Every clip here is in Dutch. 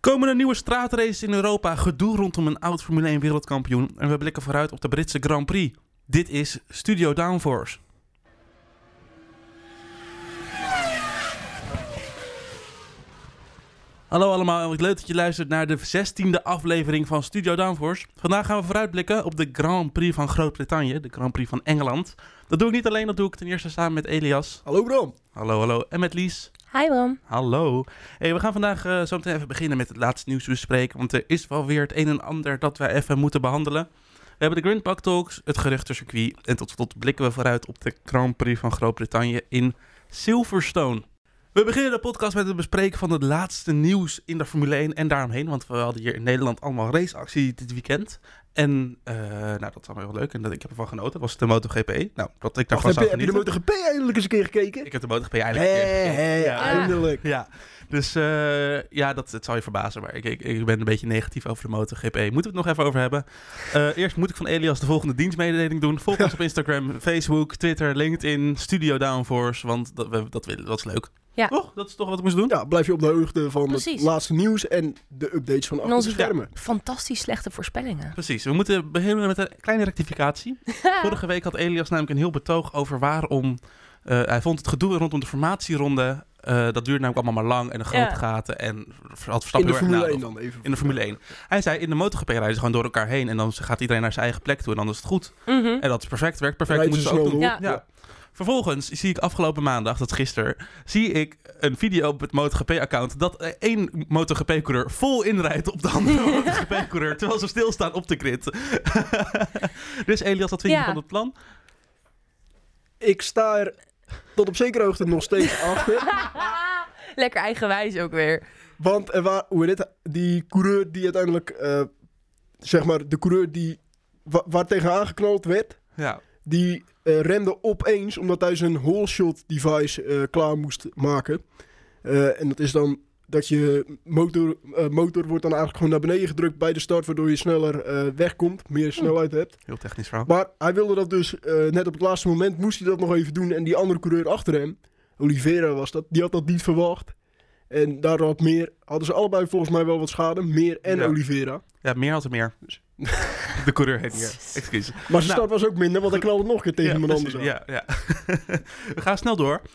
Komen er nieuwe straatraces in Europa, gedoe rondom een oud Formule 1 wereldkampioen en we blikken vooruit op de Britse Grand Prix. Dit is Studio Downforce. Hallo allemaal en wat leuk dat je luistert naar de 16e aflevering van Studio Downforce. Vandaag gaan we vooruitblikken op de Grand Prix van Groot-Brittannië, de Grand Prix van Engeland. Dat doe ik niet alleen, dat doe ik ten eerste samen met Elias. Hallo Bram. Hallo, hallo. En met Lies. Hi Bram. Hallo. Hey, we gaan vandaag eh, zo meteen even beginnen met het laatste nieuws bespreken. Want er is wel weer het een en ander dat wij even moeten behandelen. We hebben de Grindbak Talks, het geruchtencircuit. En tot slot blikken we vooruit op de Grand Prix van Groot-Brittannië in Silverstone. We beginnen de podcast met het bespreken van het laatste nieuws in de Formule 1 en daaromheen. Want we hadden hier in Nederland allemaal raceactie dit weekend. En eh, nou, dat was wel heel leuk. En dat, ik heb ervan genoten. Dat was de MotoGP. Nou, dat ik daarvan heb, zou je, heb je de genieten. MotoGP eindelijk eens een keer gekeken? Ik heb de MotoGP eigenlijk een keer Hé, gekeken. hé, Ja. eindelijk. Ja, dus eh, ja, dat, het zal je verbazen, maar ik, ik, ik ben een beetje negatief over de MotoGP. Moeten we het nog even over hebben? Eh, eerst moet ik van Elias de volgende dienstmededeling doen. Volg ons op Instagram, Facebook, Twitter, LinkedIn, Studio Downforce, want dat, we, dat, willen, dat is leuk. Ja. Toch? Dat is toch wat ik moest doen? Ja, blijf je op de hoogte van het Precies. laatste nieuws en de updates van achter de onze- schermen. Fantastisch slechte voorspellingen. Precies, we moeten beginnen met een kleine rectificatie. Vorige week had Elias namelijk een heel betoog over waarom... eh, hij vond het gedoe rondom de formatieronde, eh, dat duurde namelijk allemaal maar lang en de grote Ja. gaten en had In Verstappen nou, de heel erg Formule nadeel 1 dan even. In de Formule 1. Hij zei, in de MotoGP rijden ze gewoon door elkaar heen. En dan gaat iedereen naar zijn eigen plek toe. En dan is het goed. Mhm. En dat is perfect. Werkt perfect. Rijden Moeten ze ze ook snel doen. door. Ja. Ja. Vervolgens zie ik afgelopen maandag, dat is gisteren, zie ik een video op het MotoGP-account dat eh, één MotoGP-coureur vol inrijdt op de andere MotoGP-coureur, terwijl ze stilstaan op de grid. dus Elias, wat vind je Ja. van het plan? Ik sta er tot op zekere hoogte nog steeds achter. Lekker eigenwijs ook weer. Want er wa- hoe heet het, die coureur die uiteindelijk, eh, zeg maar, de coureur die wa- waar tegen aangeknald werd, Ja, die eh, remde opeens omdat hij zijn holeshot device eh, klaar moest maken. Eh, en dat is dan dat je motor, eh, motor wordt dan eigenlijk gewoon naar beneden gedrukt bij de start, waardoor je sneller eh, wegkomt, Hm. meer snelheid hebt. heel technisch verhaal. Maar hij wilde dat dus eh, net op het laatste moment moest hij dat nog even doen. En die andere coureur achter hem, Oliveira was dat, die had dat niet verwacht. En daardoor had meer, hadden ze allebei volgens mij wel wat schade, meer en Ja. Oliveira. Ja, meer had er meer. De coureur heet meer. Excuus. Maar zijn Nou. start was ook minder, want hij knalde nog een keer tegen ja, iemand anders. precies. aan. Ja, ja. We gaan snel door. Eh,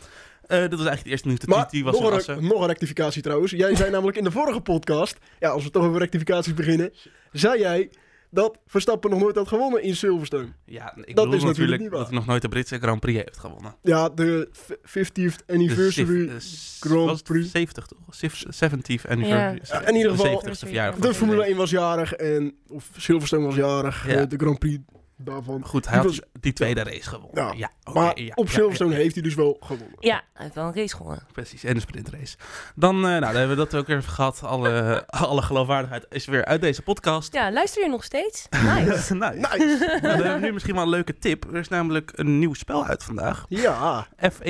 dat was eigenlijk het eerste nieuws. De Maar TT was er nog, assen. een, nog een rectificatie trouwens. Jij zei namelijk in de vorige podcast, ja, als we toch over rectificaties beginnen, zei jij dat Verstappen nog nooit had gewonnen in Silverstone. Ja, ik Dat bedoel is natuurlijk natuurlijk niet waar. dat hij nog nooit de Britse Grand Prix heeft gewonnen. Ja, de f- 50th De anniversary. sif- eh, s- Grand was het Prix. 70 toch? Sif- 70th Ja. anniversary. Ja, in ieder geval- 70ste verjaardag. de van Formule Formule 1 was jarig en of Silverstone was jarig. Ja. eh, de Grand Prix daarvan. 1. Goed, hij Die had die tweede race gewonnen. Ja, Ja. oké, Maar Oh, ja, op ja, Silverstone ja, heeft hij dus wel gewonnen. Ja, hij heeft wel een race gewonnen. Precies, en een sprintrace. Dan, eh, nou, dan hebben we dat ook weer even gehad. Alle, alle geloofwaardigheid is weer uit deze podcast. Dus Ja, luister je nog steeds? Nice. nice. Nou, dan hebben we nu misschien wel een leuke tip. Er is namelijk een nieuw spel uit vandaag. Ja,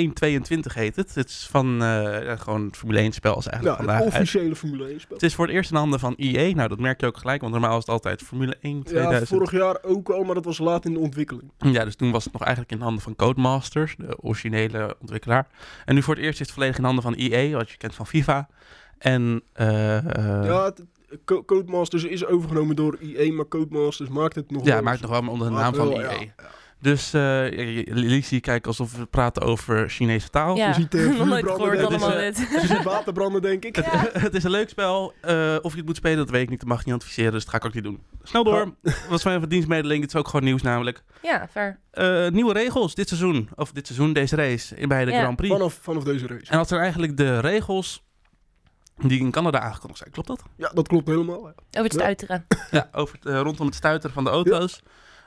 F122 heet het. Het is van eh, ja, gewoon het Formule 1 spel is eigenlijk nou, het vandaag uit. officiële Formule 1 spel. Het is voor het eerst in handen van EA. Nou, dat merk je ook gelijk, want normaal is het altijd Formule 1 Ja, 2000. Ja, vorig jaar ook al, maar dat was laat in de ontwikkeling. dus toen was het nog eigenlijk in handen van Codemasters, de originele ontwikkelaar. En nu voor het eerst is het volledig in handen van EA, wat je kent van FIFA. En eh, eh, Ja, het, Co- Codemasters is overgenomen door IE, maar Codemasters maakt het nog ja wel maakt eens- nog wel maar onder de Maakt naam van Ah, wel, EA. ja. Dus eh Lisie kijkt alsof we praten over Chinese taal. Ja, ziet, eh, nog nooit vuurbranden, gehoord dat allemaal is, dit. Het is eh, waterbranden, denk ik. Het, het is een leuk spel. Eh, of je het moet spelen, dat weet ik niet. Dat mag ik niet adviseren, dus dat ga ik ook niet doen. Snel door. Dat was mijn even dienstmededeling. Het is ook gewoon nieuws namelijk. Ja, ver. Eh, nieuwe regels dit seizoen. Of dit seizoen, deze race. in- Bij de Ja. Grand Prix. Vanaf, vanaf deze race. En dat zijn eigenlijk de regels die in Canada aangekondigd zijn. Klopt dat? Ja, dat klopt helemaal. ja. Over het Ja. stuiteren. Ja. Over het, eh, rondom het stuiteren van de auto's.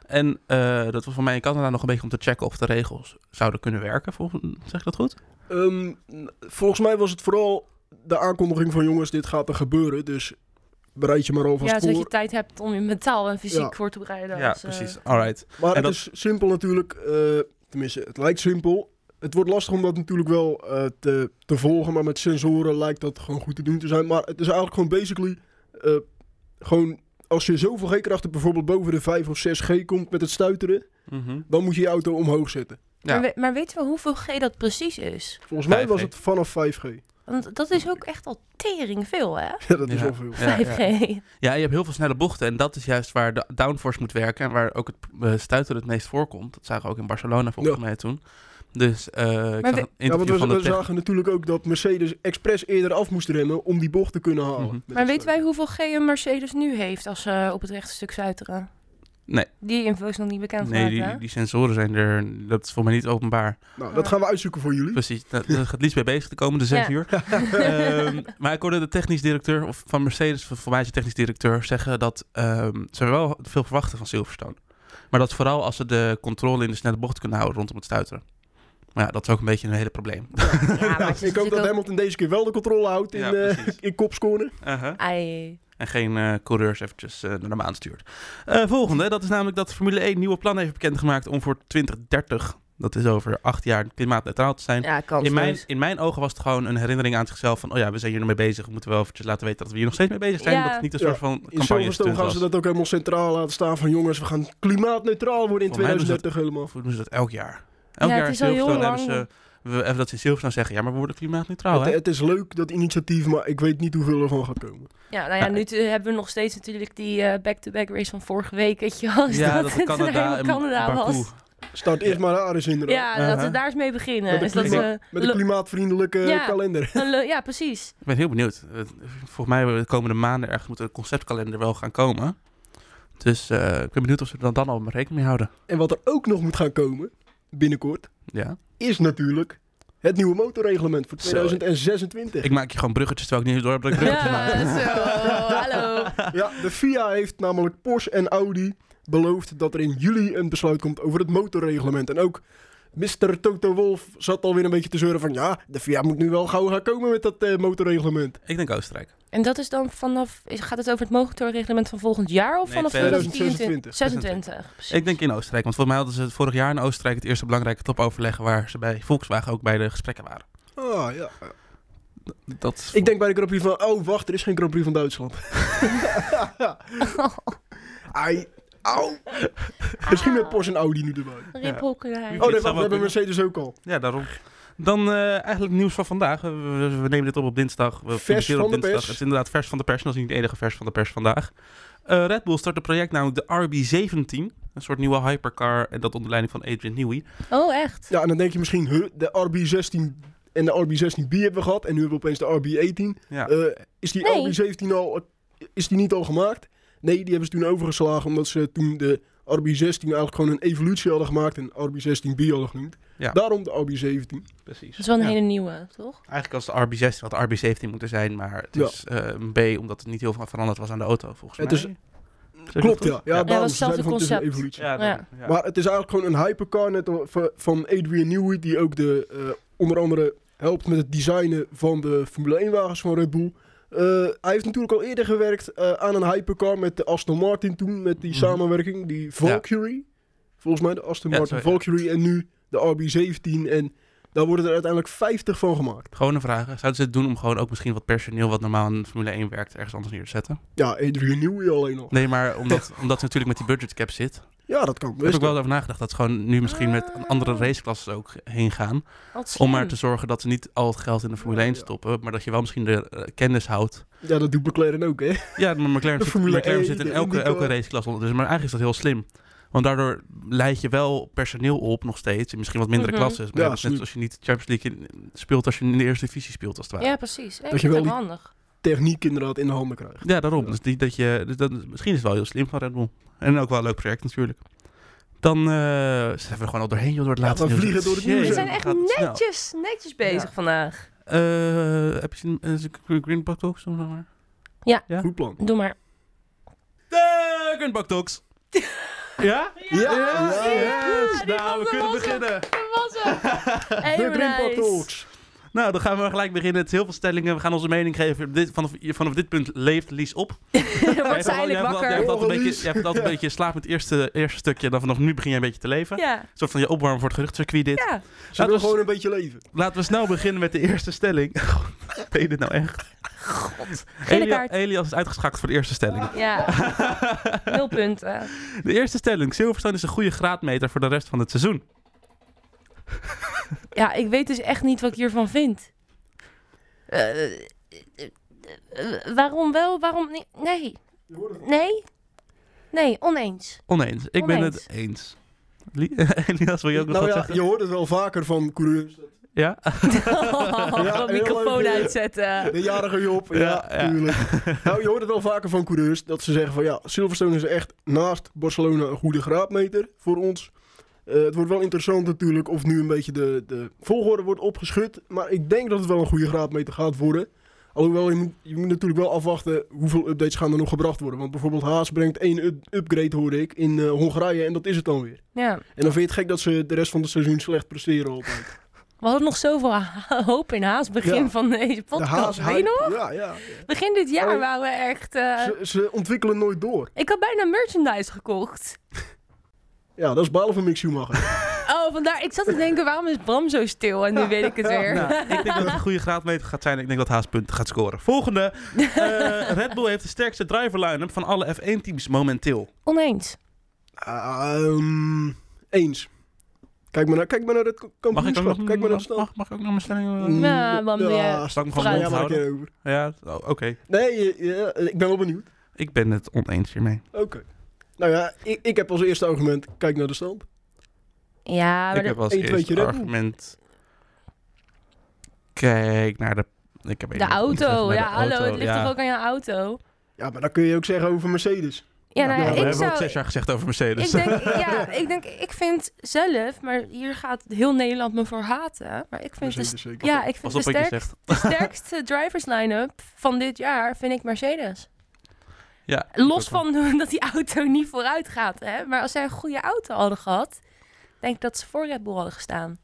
En eh, dat was voor mij in Canada nog een beetje om te checken of de regels zouden kunnen werken. Volgens, zeg ik dat goed? Ehm, n- volgens mij was het vooral de aankondiging van jongens, dit gaat er gebeuren. Dus bereid je maar alvast Ja, zodat je voor. tijd hebt om je mentaal en fysiek Ja. voor te bereiden. ja, als, eh, precies. All right. Maar En het dat- is simpel natuurlijk. eh, tenminste, het lijkt simpel. Het wordt lastig om dat natuurlijk wel eh, te, te volgen. Maar met sensoren lijkt dat gewoon goed te doen te zijn. Maar het is eigenlijk gewoon basically... eh, gewoon als je zoveel G-krachten bijvoorbeeld boven de 5 of 6 G komt met het stuiteren... Mhm. dan moet je je auto omhoog zetten. Ja. Maar, we- maar weten we hoeveel G dat precies is? Volgens mij 5G. was het vanaf 5G. Want dat is ook echt al tering veel, hè? Ja, dat is Ja. wel veel. Ja, ja. 5G. Ja, je hebt heel veel snelle bochten. En dat is juist waar de downforce moet werken. En waar ook het eh, stuiten het meest voorkomt. Dat zagen we ook in Barcelona volgens mij toen. Dus eh ik we- zag een Ja, interview want we, van de we tech- zagen natuurlijk ook dat Mercedes expres eerder af moest remmen om die bocht te kunnen halen. Mhm. Met Maar het weten wij hoeveel G een Mercedes nu heeft als ze op het rechte stuk zuiteren? Nee. Die info is nog niet bekend Nee, gemaakt, hè? die, die sensoren zijn er... Dat is voor mij niet openbaar. stuiten. Nou, dat gaan we uitzoeken voor jullie. Precies, daar daar ga ik het liefst mee bezig de komende zes Ja. uur. Ehm, maar ik hoorde de technisch directeur of van Mercedes, voor voor mij is de technisch directeur, zeggen dat ehm, ze wel veel verwachten van Silverstone. Maar dat vooral als ze de controle in de snelle bocht kunnen houden rondom het stuiteren. Maar ja, dat is ook een beetje een hele probleem. Ja, maar het ik is hoop natuurlijk dat ook- Hamilton deze keer wel de controle houdt in, Ja, eh, precies. in kopscoren. Aha. Ai. En geen eh, coureurs eventjes eh, naar hem aanstuurt. Eh, volgende, dat is namelijk dat Formule 1 nieuwe plannen heeft bekendgemaakt om voor 2030, dat is over acht jaar, klimaatneutraal te zijn. Ja, kan In mijn, in mijn ogen was het gewoon een herinnering aan zichzelf van... oh ja, we zijn hier nog mee bezig. We moeten wel eventjes laten weten dat we hier nog steeds mee bezig zijn. Ja. Dat het niet een Ja. soort van In campagne Silverstone gaan ze dat ook helemaal centraal laten staan van jongens, we gaan klimaatneutraal worden in Voor mij doen ze 2030 helemaal. Of doen ze dat elk jaar? Elk Ja, jaar het in is al heel Silverstone hebben ze... lang. We, even dat ze in Silverstone zeggen... ja, maar we worden klimaatneutraal, het, Oh, hè? het is leuk, dat initiatief, maar ik weet niet hoeveel ervan gaat komen. Ja, nou ja, nu te- hebben we nog steeds natuurlijk die eh, back-to-back race van vorige week, weet je wel. ja, dat, het het Canada helemaal en Canada Baku. was. Start eerst maar daar eens inderdaad. Ja, Uh-huh. dat we daar eens mee beginnen. Met de Dus dat klima- we Met een lo- klimaatvriendelijke Ja. kalender. een lo- ja, precies. Ik ben heel benieuwd. Eh, Volgens mij hebben we de komende maanden ergens... moet een conceptkalender wel gaan komen. Dus eh, ik ben benieuwd of ze er dan, dan al rekening mee houden. En wat er ook nog moet gaan komen, binnenkort, Ja. is natuurlijk het nieuwe motorreglement voor Zo. 2026. Ik maak je gewoon bruggetjes terwijl ik niet eens door heb dat ik bruggetjes Ja, maak. zo. Hallo. Ja, de FIA heeft namelijk Porsche en Audi beloofd dat er in juli een besluit komt over het motorreglement. En ook Mr. Toto Wolf zat alweer een beetje te zeuren van ja, de FIA moet nu wel gauw gaan komen met dat eh, motorreglement. Ik denk Oostenrijk. En dat is dan vanaf, is- gaat het over het motorreglement van volgend jaar of Nee, vanaf 2026? 2024? 26, precies. Ik denk in Oostenrijk, want volgens mij hadden ze het vorig jaar in Oostenrijk het eerste belangrijke topoverleg waar ze bij Volkswagen ook bij de gesprekken waren. Ah ja. Dat is Ik denk bij de Grand Prix van, oh wacht, er is geen Grand Prix van Duitsland. Oh, Ai, au. Misschien met Porsche en Audi nu erbij. Riphokkerij. Ja. Oh nee, zou wacht, wel we hebben kunnen. Mercedes ook al. Ja, daarom. Dan eh, eigenlijk nieuws van vandaag. We, we- we nemen dit op op dinsdag. We Vers publiceren op van de dinsdag. pers. Het is inderdaad vers van de pers. En dat is niet het enige vers van de pers vandaag. Eh, Red Bull start een project namelijk de RB17. Een soort nieuwe hypercar. En dat onder leiding van Adrian Newey. Oh, echt? Ja, en dan denk je misschien, huh, de RB16 en de RB16B hebben we gehad en nu hebben we opeens de RB18. Ja. Eh, is die Nee. RB17 al, eh, is die niet al gemaakt? Nee, die hebben ze toen overgeslagen omdat ze toen de RB16 eigenlijk gewoon een evolutie hadden gemaakt en RB16B hadden genoemd. Ja. Daarom de RB17. precies. Dat is wel een Ja. hele nieuwe, toch? Eigenlijk als de RB16 had de RB17 moeten zijn. Maar het Ja. is eh, een B omdat het niet heel veel veranderd was aan de auto volgens Het mij. is- Zeg ik Klopt, dat ja. goed? Ja, daarom, was ze zeiden hetzelfde van, het is een concept. evolutie. Ja, Ja. dat- ja. Maar het is eigenlijk gewoon een hypercar net al van- van Adrian Newey, die ook de, eh, onder andere helpt met het designen van de Formule 1-wagens van Red Bull. Eh, hij heeft natuurlijk al eerder gewerkt eh, aan een hypercar met de Aston Martin toen, met die Mhm. samenwerking, die Valkyrie. Volgens mij de Aston Ja, Martin zo, ja. Valkyrie en nu de RB17. En daar worden er uiteindelijk 50 van gemaakt. Gewoon een vraag. Zouden ze het doen om gewoon ook misschien wat personeel wat normaal in Formule 1 werkt ergens anders neer te zetten? Ja, Adrian Newey alleen al. Nee, maar omdat, omdat ze natuurlijk met die budget cap zit, Ja, dat kan. heb Best ik wel over nagedacht dat ze gewoon nu misschien met een andere Ah. raceklassen ook heen gaan. Wat Om slim. maar te zorgen dat ze niet al het geld in de Formule Ja, 1 ja. stoppen, maar dat je wel misschien de eh, kennis houdt. Ja, dat doet McLaren ook, hè? Ja, maar McLaren De zit, Formule McLaren 1, zit in de elke, IndyCar. elke raceklasse ondertussen, maar eigenlijk is dat heel slim. Want daardoor leid je wel personeel op nog steeds, in misschien wat mindere Mhm. klassen. Maar Ja, ja, dat is net absoluut. als je niet Champions League in- speelt als je in de eerste divisie speelt, als het ware. Ja, precies. Hey, Dat dat je is wel wel handig. Techniek inderdaad in de handen krijgt. Ja, daarom. Dus die, dat je, dus dat, misschien is het wel heel slim van Red Bull. En ook wel een leuk project natuurlijk. Dan eh zijn we er gewoon al doorheen joh, door het Ja, laatste we nieuws. vliegen door het Jezus, nieuws We Hey, zijn dat echt gaat het snel. netjes, netjes bezig Ja. vandaag. Eh, heb je zien, eh, Green Buck Talks? Noem maar maar. Ja. Goed plan. Doe maar. De Green Buck Talks! ja? Ja, Yes, ja, yes. die was Nou, we hem, kunnen was hem. beginnen. Dat was hem. Hey, De Green nice. Park Talks. Nou, dan gaan we gelijk beginnen. Het is heel veel stellingen. We gaan onze mening geven. Dit, vanaf, vanaf dit punt leeft Lies op. Wordt ze Jij hebt eindelijk al- Jij wakker. hebt altijd een Oh, beetje, Lies. jij hebt altijd een beetje slaap met het eerste, eerste stukje. En dan vanaf nu begin jij een beetje te leven. Ja, Een soort van je opwarm voor het geruchtcircuit dit. ja. Ze willen was- gewoon een beetje leven. Laten we snel beginnen met de eerste stelling. God, Ben je dit nou echt? Gele Elia- kaart. Elias is uitgeschakeld voor de eerste stelling. Ja, nul eh. punten. De eerste stelling. Silverstone is een goede graadmeter voor de rest van het seizoen. Ja, ik weet dus echt niet wat ik hiervan vind. eh, eh, eh, waarom wel, waarom niet? Nee, Je hoort het. nee, nee, oneens. Oneens. Ik ben het eens. Li- Elias, wil je ook nog nou wat ja, zeggen? je hoort het wel vaker van coureurs. Ja? heel microfoon leuk, eh, uitzetten. De jarige Job, ja, Ja, ja. tuurlijk. nou, je hoort het wel vaker van coureurs dat ze zeggen van ja, Silverstone is echt naast Barcelona een goede graadmeter voor ons. Eh, het wordt wel interessant natuurlijk of nu een beetje de, de volgorde wordt opgeschud. Maar ik denk dat het wel een goede graadmeter gaat worden. Alhoewel, je moet, je moet natuurlijk wel afwachten hoeveel updates gaan er nog gebracht worden. Want bijvoorbeeld Haas brengt één up- upgrade, hoorde ik, in eh, Hongarije en dat is het dan weer. Ja. En dan vind je het gek dat ze de rest van het seizoen slecht presteren op de We hadden nog zoveel ha- hoop in Haas begin Ja. van deze podcast. Weet je nog? hype. Ja, ja. Begin dit jaar Oh. waren we echt... eh, Ze, ze ontwikkelen nooit door. Ik had bijna merchandise gekocht. Ja, dat is balen van Mick Schumacher. Oh, vandaar. Ik zat te denken, waarom is Bram zo stil? En nu weet ik het weer. Nou, ik denk dat het een goede graadmeter gaat zijn. Ik denk dat Haas punten gaat scoren. Volgende. Eh, Red Bull heeft de sterkste driver line-up van alle F1-teams momenteel. Oneens. Ehm, eens. Kijk maar naar, kijk maar naar het ko- Mag ik ook nog, kampioenschap. Kijk maar naar de stand. mag, mag ik ook nog mijn stelling... eh, Mm, Nou, want, ja. Zal ik hem Vraag- gewoon ja, mond maar houden? over. Ja, oh, oké. Nee, eh, ja, ik ben wel benieuwd. Ik ben het oneens hiermee. Oké. Nou ja, ik, ik heb als eerste argument, kijk naar de stand. Ja, maar ik heb als één tweetje eerste Red Bull. argument... Kijk naar de... Ik heb de, één de auto. argument, Ja, naar de hallo. auto, het ligt ja. toch ook aan je auto? Ja, maar dan kun je ook zeggen over Mercedes. Ja, Ja, nou, Ja, ja, we ik hebben ook zou... zes jaar dus. gezegd over Mercedes. Ik denk, ja, ik denk, ik vind zelf, maar hier gaat heel Nederland me voor haten. Maar ik vind, de, Mercedes zeker. ja, ik vind Pas de, op wat je sterk, zegt. de sterkste drivers line-up van dit jaar vind ik Mercedes. Ja, Los van dat die auto niet vooruit gaat, hè. Maar als zij een goede auto hadden gehad, denk ik dat ze voor Red Bull hadden gestaan.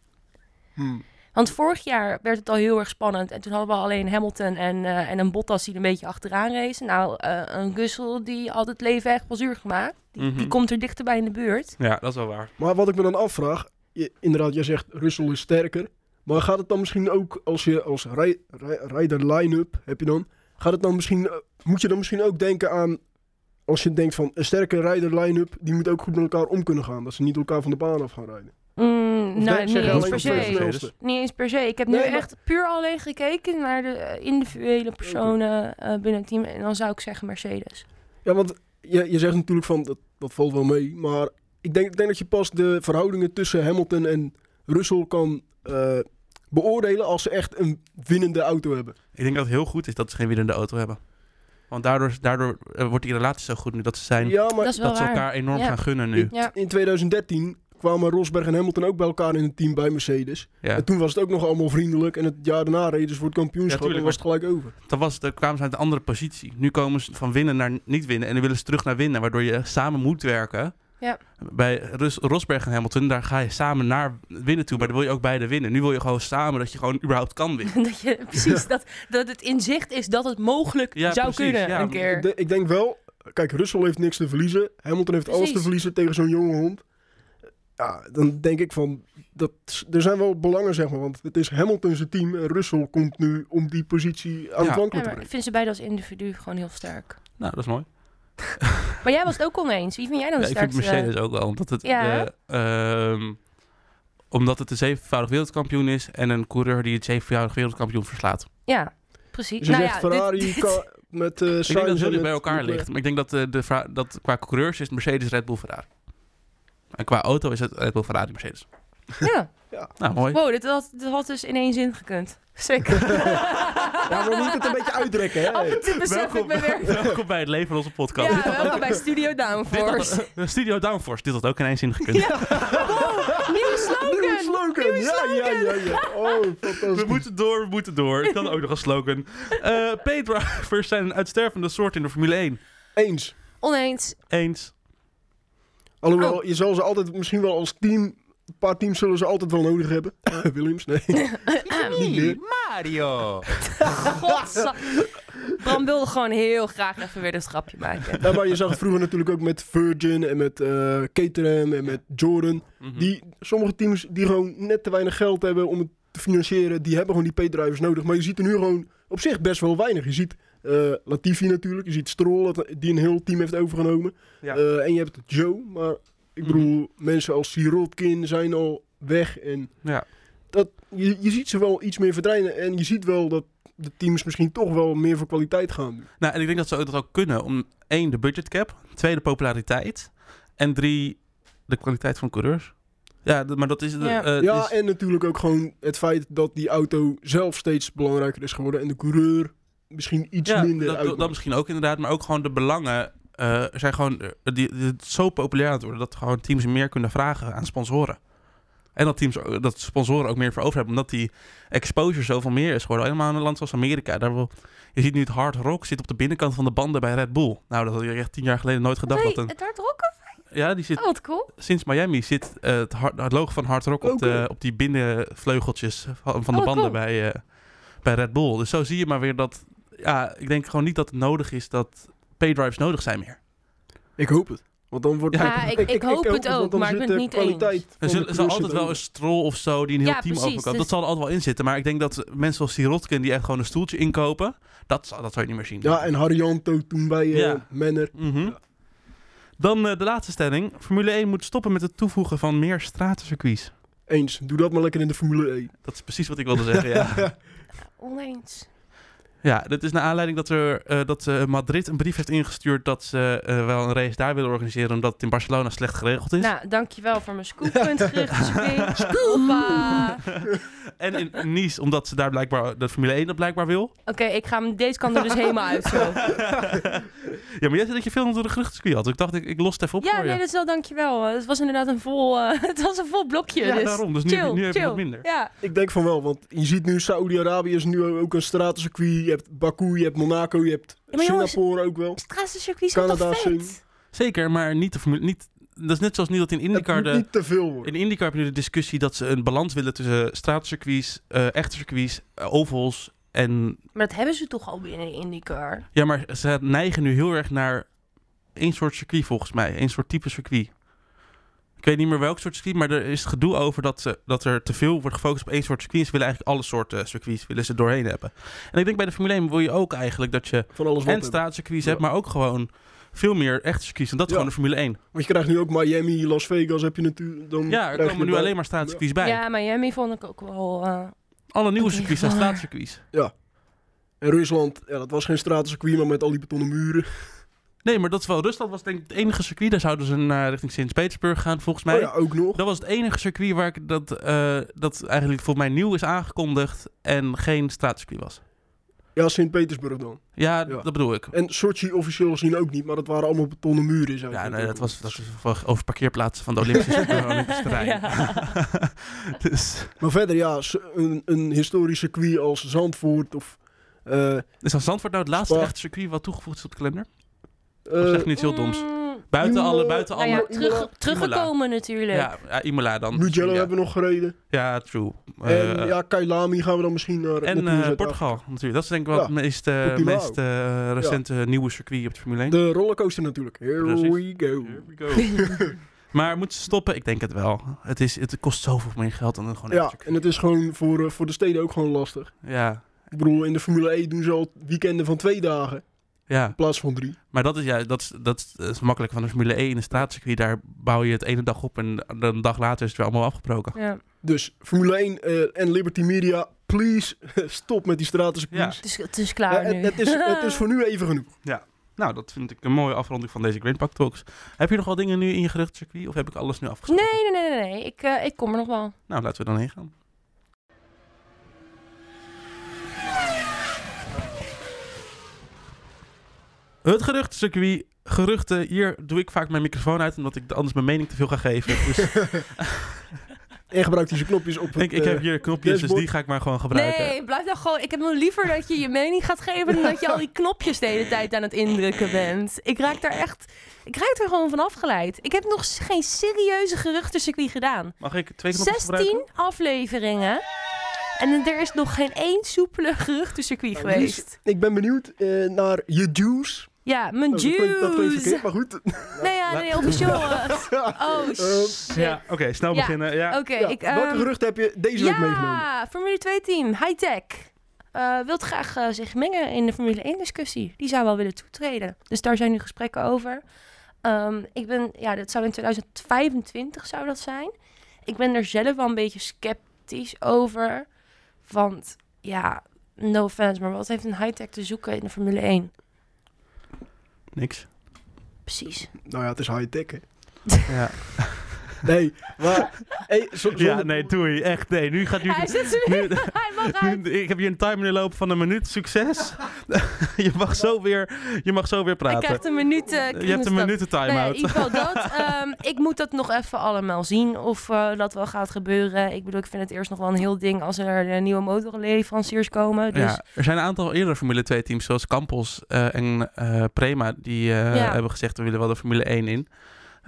Hmm. Want vorig jaar werd het al heel erg spannend. En toen hadden we alleen Hamilton en, eh, en een Bottas die er een beetje achteraan racen. Nou, eh, een Russell die had het leven echt wel zuur gemaakt. Die, Mhm. die komt er dichterbij in de buurt. Ja, dat is wel waar. Maar wat ik me dan afvraag, je- inderdaad, jij zegt Russell is sterker. Maar gaat het dan misschien ook, als je als rij- rij- rijder line-up heb je dan, gaat het dan misschien, eh, moet je dan misschien ook denken aan, als je denkt van een sterke rijder line-up, die moet ook goed met elkaar om kunnen gaan. Dat ze niet elkaar van de baan af gaan rijden. Mm, Of nou, denk- niet zeg je eens alleen per op de Mercedes? se. snelste? Niet eens per se. Ik heb nu Nee, maar- echt puur alleen gekeken naar de eh, individuele personen eh, binnen het team. En dan zou ik zeggen Mercedes. Ja, want je, je zegt natuurlijk van, dat, dat valt wel mee. Maar ik denk, ik denk dat je pas de verhoudingen tussen Hamilton en Russell kan eh, beoordelen als ze echt een winnende auto hebben. Ik denk dat het heel goed is dat ze geen winnende auto hebben. Want daardoor, daardoor eh, wordt die relatie zo goed nu dat ze zijn. Ja, dat maar is wel dat ze waar. elkaar enorm Ja. gaan gunnen nu. Ik- Ja. in 2013 kwamen Rosberg en Hamilton ook bij elkaar in het team bij Mercedes. Ja. En toen was het ook nog allemaal vriendelijk. En het jaar daarna reden ze voor het kampioenschap Ja, en tuurlijk, was het gelijk over. Dan, was, dan kwamen ze uit een andere positie. Nu komen ze van winnen naar niet winnen. En dan willen ze terug naar winnen. Waardoor je samen moet werken. Ja. Bij Rus- Rosberg en Hamilton, daar ga je samen naar winnen toe. Maar dan wil je ook beide winnen. Nu wil je gewoon samen dat je gewoon überhaupt kan winnen. dat je precies dat, dat het inzicht is dat het mogelijk Ja, zou precies, kunnen ja. een Ik, keer. de- ik denk wel... Kijk, Russell heeft niks te verliezen. Hamilton heeft alles te Precies. verliezen tegen zo'n jonge hond. Ja, dan denk ik van... Dat, er zijn wel belangen, zeg maar. Want het is Hamilton zijn team. En Russell komt nu om die positie aan Ja. het wankelen Ja, te maar brengen. ik vind ze beide als individu gewoon heel sterk. Nou, dat is mooi. Maar jij was het ook oneens. Wie vind jij dan Ja, de ik vind sterkste? Mercedes ook wel. Omdat het, Ja. eh, ehm, omdat het een zevenvoudig wereldkampioen is. En een coureur die het zevenvoudig wereldkampioen verslaat. eh, Ja, precies. Ze Nou zegt ja, dit- Ferrari dit- kan- met eh Ik denk dat het Sainz heel en dicht bij met elkaar Leclerc. ligt. Maar ik denk dat, eh, de vra- dat qua coureurs is Mercedes Red Bull Ferrari. En qua auto is het Red Bull Ferrari Mercedes. Ja. Nou, mooi. Wow, dit had, dit had dus in één zin gekund. Zeker. Ja, maar we moeten het een beetje uitrekken, hè? Af en toe besef ik me weer. welkom bij het leven van onze podcast. Ja, welkom bij Studio Dit had- Downforce. eh, Studio Downforce, dit had ook in één zin gekund. Ja. Wow, Oh, nieuwe slogan. Nieuwe slogan! Nieuwe Ja, ja, ja, ja. Oh, fantastisch. We moeten door, we moeten door. Ik kan ook nog een slogan. Eh P-drivers zijn een uitstervende soort in de Formule 1. Eens. Oneens. Eens. Alhoewel, Oh. je zal ze altijd misschien wel als team... Een paar teams zullen ze altijd wel nodig hebben. Williams, nee. Niet meer. Mario. Godsa- Bram wilde gewoon heel graag even weer een schrapje maken. Ja, maar je zag het vroeger natuurlijk ook met Virgin en met eh Caterham en met Jordan. Hm. Die, sommige teams die gewoon net te weinig geld hebben om het te financieren, die hebben gewoon die P-drivers nodig. Maar je ziet er nu gewoon op zich best wel weinig. Je ziet eh, Latifi natuurlijk, je ziet Stroll, dat- die een heel team heeft overgenomen. Ja. Hm. Eh, en je hebt Joe, maar ik bedoel, mensen als Sirotkin zijn al weg en... Ja. dat, je, je ziet ze wel iets meer verdwijnen. En je ziet wel dat de teams misschien toch wel meer voor kwaliteit gaan. nu. Nou, en ik denk dat ze ook dat ook kunnen om één, de budget cap, twee, de populariteit en drie, de kwaliteit van coureurs. Ja, d- maar dat is... de- Ja. eh, ja, is- en natuurlijk ook gewoon het feit dat die auto zelf steeds belangrijker is geworden. En de coureur misschien iets ja, minder dat, dat uitmaakt. misschien ook inderdaad, maar ook gewoon de belangen eh, zijn gewoon eh, die, die- zo populair aan het worden dat gewoon teams meer kunnen vragen aan sponsoren. En dat, teams, ook- dat sponsoren ook meer voor over hebben, omdat die exposure zoveel meer is geworden. Helemaal in een land zoals Amerika. Daar wil, je ziet nu het hard rock zit op de binnenkant van de banden bij Red Bull. Nou, dat had ik echt tien jaar geleden nooit gedacht. Nee, dat een, het hard rocken? ja, die zit Oh, wat cool. sinds Miami zit eh, het, hard, het logo van Hard Rock op, Oké. de, op die binnenvleugeltjes van, van de Oh, banden cool. bij, eh, bij Red Bull. Dus zo zie je maar weer dat... Ja, ik denk gewoon niet dat het nodig is dat paydrives nodig zijn meer. Ik hoop het. Want dan wordt Ja, Ja, ik- ik hoop het want ook, dan maar ik zit ben het de niet kwaliteit eens. van Er de zullen- er zal coureurs altijd zit wel een strol of zo die een heel Ja, team precies, overkoopt. dus- Dat zal er altijd wel in zitten. Maar ik denk dat mensen zoals Sirotkin die echt gewoon een stoeltje inkopen... Dat, zal- dat zou je niet meer zien. Ja, en Harjanto toen bij eh Ja. Manner. Mhm. Dan eh, de laatste stelling. Formule 1 moet stoppen met het toevoegen van meer stratencircuits. Eens, doe dat maar lekker in de Formule 1. Dat is precies wat ik wilde zeggen, ja. Oneens. Ja, dit is naar aanleiding dat, er, eh, dat eh, Madrid een brief heeft ingestuurd dat ze eh, wel een race daar willen organiseren, omdat het in Barcelona slecht geregeld is. Nou, dankjewel voor mijn scooppunt Hoppa. En in Nice, omdat ze daar blijkbaar, de Formule 1 dat blijkbaar wil. Oké, ik ga hem, deze kant er dus helemaal uit zo. Ja, maar jij zei dat je veel door de geruchtencircuit had. Ik dacht, ik, ik los het even op Ja, voor nee, je. dat is wel dankjewel. Het was inderdaad een vol, eh, het was een vol blokje. ja, dus daarom. Dus nu, chill, nu heb je chill. wat minder. Ja, Ik denk van wel, want je ziet nu Saudi-Arabië is nu ook een stratencircuit. Je hebt Baku, je hebt Monaco, je hebt maar jongens- Singapore ook wel. straatcircuits zijn Canada toch zijn- vet? Zeker, maar niet de Formule niet, Dat is net zoals nu dat in Het IndyCar moet de... niet te veel worden. In IndyCar heb je nu de discussie dat ze een balans willen tussen straatcircuits, eh, echte circuits, eh, ovals en Maar dat hebben ze toch al binnen IndyCar? Ja, maar ze neigen nu heel erg naar één soort circuit volgens mij. Eén soort type circuit. Ik weet niet meer welk soort circuit, maar er is gedoe over dat, ze, dat er te veel wordt gefocust op één soort circuit. En ze willen eigenlijk alle soorten eh, circuits willen ze doorheen hebben. En ik denk bij de Formule 1 wil je ook eigenlijk dat je Van alles wat. en hebben. straatcircuits Ja. hebt, maar ook gewoon veel meer echte circuits. En dat is Ja. gewoon de Formule 1. Want je krijgt nu ook Miami, Las Vegas heb je natuurlijk. Dan Ja, er krijg komen je nu bij- alleen maar straatcircuits bij. Ja, Miami vond ik ook wel... eh, Alle nieuwe Oké. circuits zijn straatcircuits. En Rusland, ja, dat was geen stratencircuit, maar met al die betonnen muren. Nee, maar dat is wel... Rusland was denk ik het enige circuit. Daar zouden ze naar eh, richting Sint-Petersburg gaan volgens mij. Oh ja, ook nog. Dat was het enige circuit waar ik dat, eh, dat eigenlijk volgens mij nieuw is aangekondigd en geen straatcircuit was. Ja, Sint-Petersburg dan. Ja, Ja. dat bedoel ik. En Sochi officieel gezien ook niet, maar dat waren allemaal betonnen muren. zei Ja, ik nee, ook dat nog. was, dat was over parkeerplaatsen van de Olympische van het Olympisch terrein. dus, Maar verder, ja, s- een, een historisch circuit als Zandvoort of... eh, is dan Zandvoort nou het laatste Spa. echte circuit wat toegevoegd is op de kalender? eh, Of zeg nu iets heel doms? mm, Buiten alle, Imola. buiten nou alle... ja, Imola. terug, teruggekomen ja, natuurlijk. ja, Imola dan. Mugello ja. hebben we nog gereden. Ja, true. Eh, en ja, Kailami gaan we dan misschien en naar... naartoe eh, zetten. Portugal natuurlijk. Dat is denk ik wel Ja, het meest, eh, Portimao. meest eh, recente nieuwe circuit op de Formule 1. De rollercoaster natuurlijk. Here Precies. Oh, we go. maar moeten ze stoppen? Ik denk het wel. Het, is, het kost zoveel meer geld dan een gewoon Ja, echt circuit. en het is gewoon voor, eh, voor de steden ook gewoon lastig. Ja, Ik bedoel, in de Formule 1 doen ze al weekenden van twee dagen ja. in plaats van drie. Maar dat is, ja, dat is, dat is, dat is makkelijk van de Formule 1 in een straatcircuit. Daar bouw je het ene dag op en een dag later is het weer allemaal afgebroken. Ja. Dus Formule 1 eh, en Liberty Media, please stop met die stratencircuits. Het, is, het is Ja, klaar het, nu. het is, het is voor nu even genoeg. Nou, dat vind ik een mooie afronding van deze Grand Pack Talks. Heb je nog wel dingen nu in je geruchtcircuit of heb ik alles nu afgesloten? Nee, nee, nee, nee. nee. Ik, eh, ik kom er nog wel. Nou, laten we dan heen gaan. Het geruchtencircuit. Geruchten, hier doe ik vaak mijn microfoon uit omdat ik anders mijn mening te veel ga geven. Dus En gebruik deze knopjes op het, ik, ik heb eh, hier knopjes, dus dashboard. die ga ik maar gewoon gebruiken. Nee, blijf nou gewoon. Ik heb me liever dat je je mening gaat geven dan dat je al die knopjes de hele tijd aan het indrukken bent. Ik raak daar echt. Ik raak er gewoon van afgeleid. Ik heb nog s- geen serieuze geruchtencircuit gedaan. Mag ik twee knopjes gebruiken? 16 afleveringen. En er is nog geen één soepele geruchtencircuit Nou, geweest. Ik ben benieuwd eh, naar je juice. Ja, mijn Oh, dat klinkt- dat klinkt verkeerd, juice. maar goed. Nee, ja, nee, officieel. eh, Oh, shit. Ja, oké, snel Ja. beginnen. Ja. Oké, Ja, ik. welke ehm, geruchten heb je deze week meegenomen? Ja, Formule 2 team, high-tech. Eh, wilt graag eh, zich mengen in de Formule 1 discussie. Die zou wel willen toetreden. Dus daar zijn nu gesprekken over. Ehm, ik ben, ja, dat zou in 2025 zou dat zijn. Ik ben er zelf wel een beetje sceptisch sceptisch over. Want ja, no offense, maar wat heeft een high-tech te zoeken in de Formule 1? Niks. Precies. Nou ja, het is high-tech, hè. Ja. Nee, maar... hey, zo- ja, zonder- nee, doei. Echt, nee. Nu gaat nu... Hij zit ze nu- weer. Hij mag uit. nu- ik heb hier een timer lopen van een minuut. Succes. je, mag zo weer, je mag zo weer Hij praten. krijgt een minuut. eh, je hebt een kringloop. minuten Nou ja, in time-out. ieder geval dat. Ehm, ik moet dat nog even allemaal zien of eh, dat wel gaat gebeuren. Ik bedoel, ik vind het eerst nog wel een heel ding als er eh, nieuwe motorleveranciers komen. Dus Ja, er zijn een aantal eerdere Formule 2 teams, zoals Campos eh, en eh, Prema, die eh, Ja. hebben gezegd we willen wel de Formule 1 in.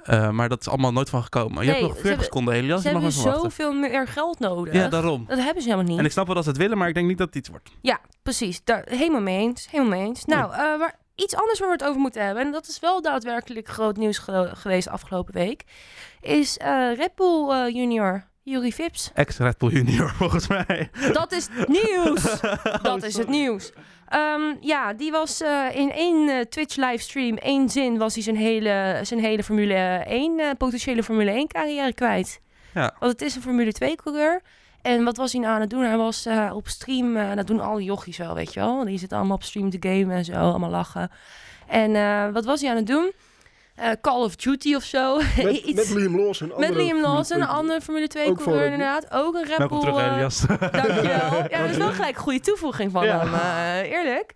Eh, maar dat is allemaal nooit van gekomen. Je Nee, hebt nog ze 40 hebben- seconden, Elias. ze Je mag hebben even wachten. zoveel meer geld nodig. Ja, daarom. Dat hebben ze helemaal En niet. ik snap wel dat ze het willen, maar ik denk niet dat het iets wordt. Ja, precies. Daar, helemaal mee eens. Helemaal mee eens. Nou, eh, maar iets anders waar we het over moeten hebben, en dat is wel daadwerkelijk groot nieuws ge- geweest afgelopen week, is eh, Red Bull eh, junior, Yuri Vips. Ex-Red Bull Junior, volgens mij. Dat is het nieuws! Oh, Dat is het nieuws. Ehm, ja, die was eh, in één eh, Twitch livestream, één zin, was hij zijn hele, zijn hele Formule 1, eh, potentiële Formule 1 carrière kwijt. Ja. Want het is een Formule 2 coureur. En wat was hij nou aan het doen? Hij was eh, op stream, eh, dat doen al die jochies wel, weet je wel. Die zitten allemaal op stream te gamen en zo, allemaal lachen. En eh, wat was hij aan het doen? Eh, Call of Duty of zo. Met, Iets- met Liam Lawson. met andere Liam Formule Lawson, een 2. andere Formule 2 Ook van coureur Red Bull. inderdaad. Ook een Red Welkom Bull, terug, eh, Elias. Dankjewel. Ja, dat is wel gelijk een goede toevoeging van Ja. hem, eh, eerlijk.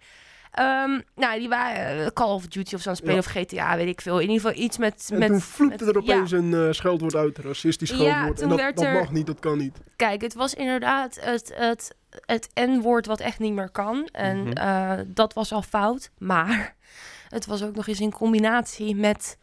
Ehm, nou, die waren eh, Call of Duty of zo'n spelen Ja. of GTA, weet ik veel. In ieder geval iets met... En met toen vloepte met- er opeens een eh, scheldwoord uit, een racistisch Ja, scheldwoord. toen en dat, werd dat er- mag niet, dat kan niet. Kijk, het was inderdaad het, het, het N-woord wat echt niet meer kan. En Mhm. eh, dat was al fout. Maar het was ook nog eens in combinatie met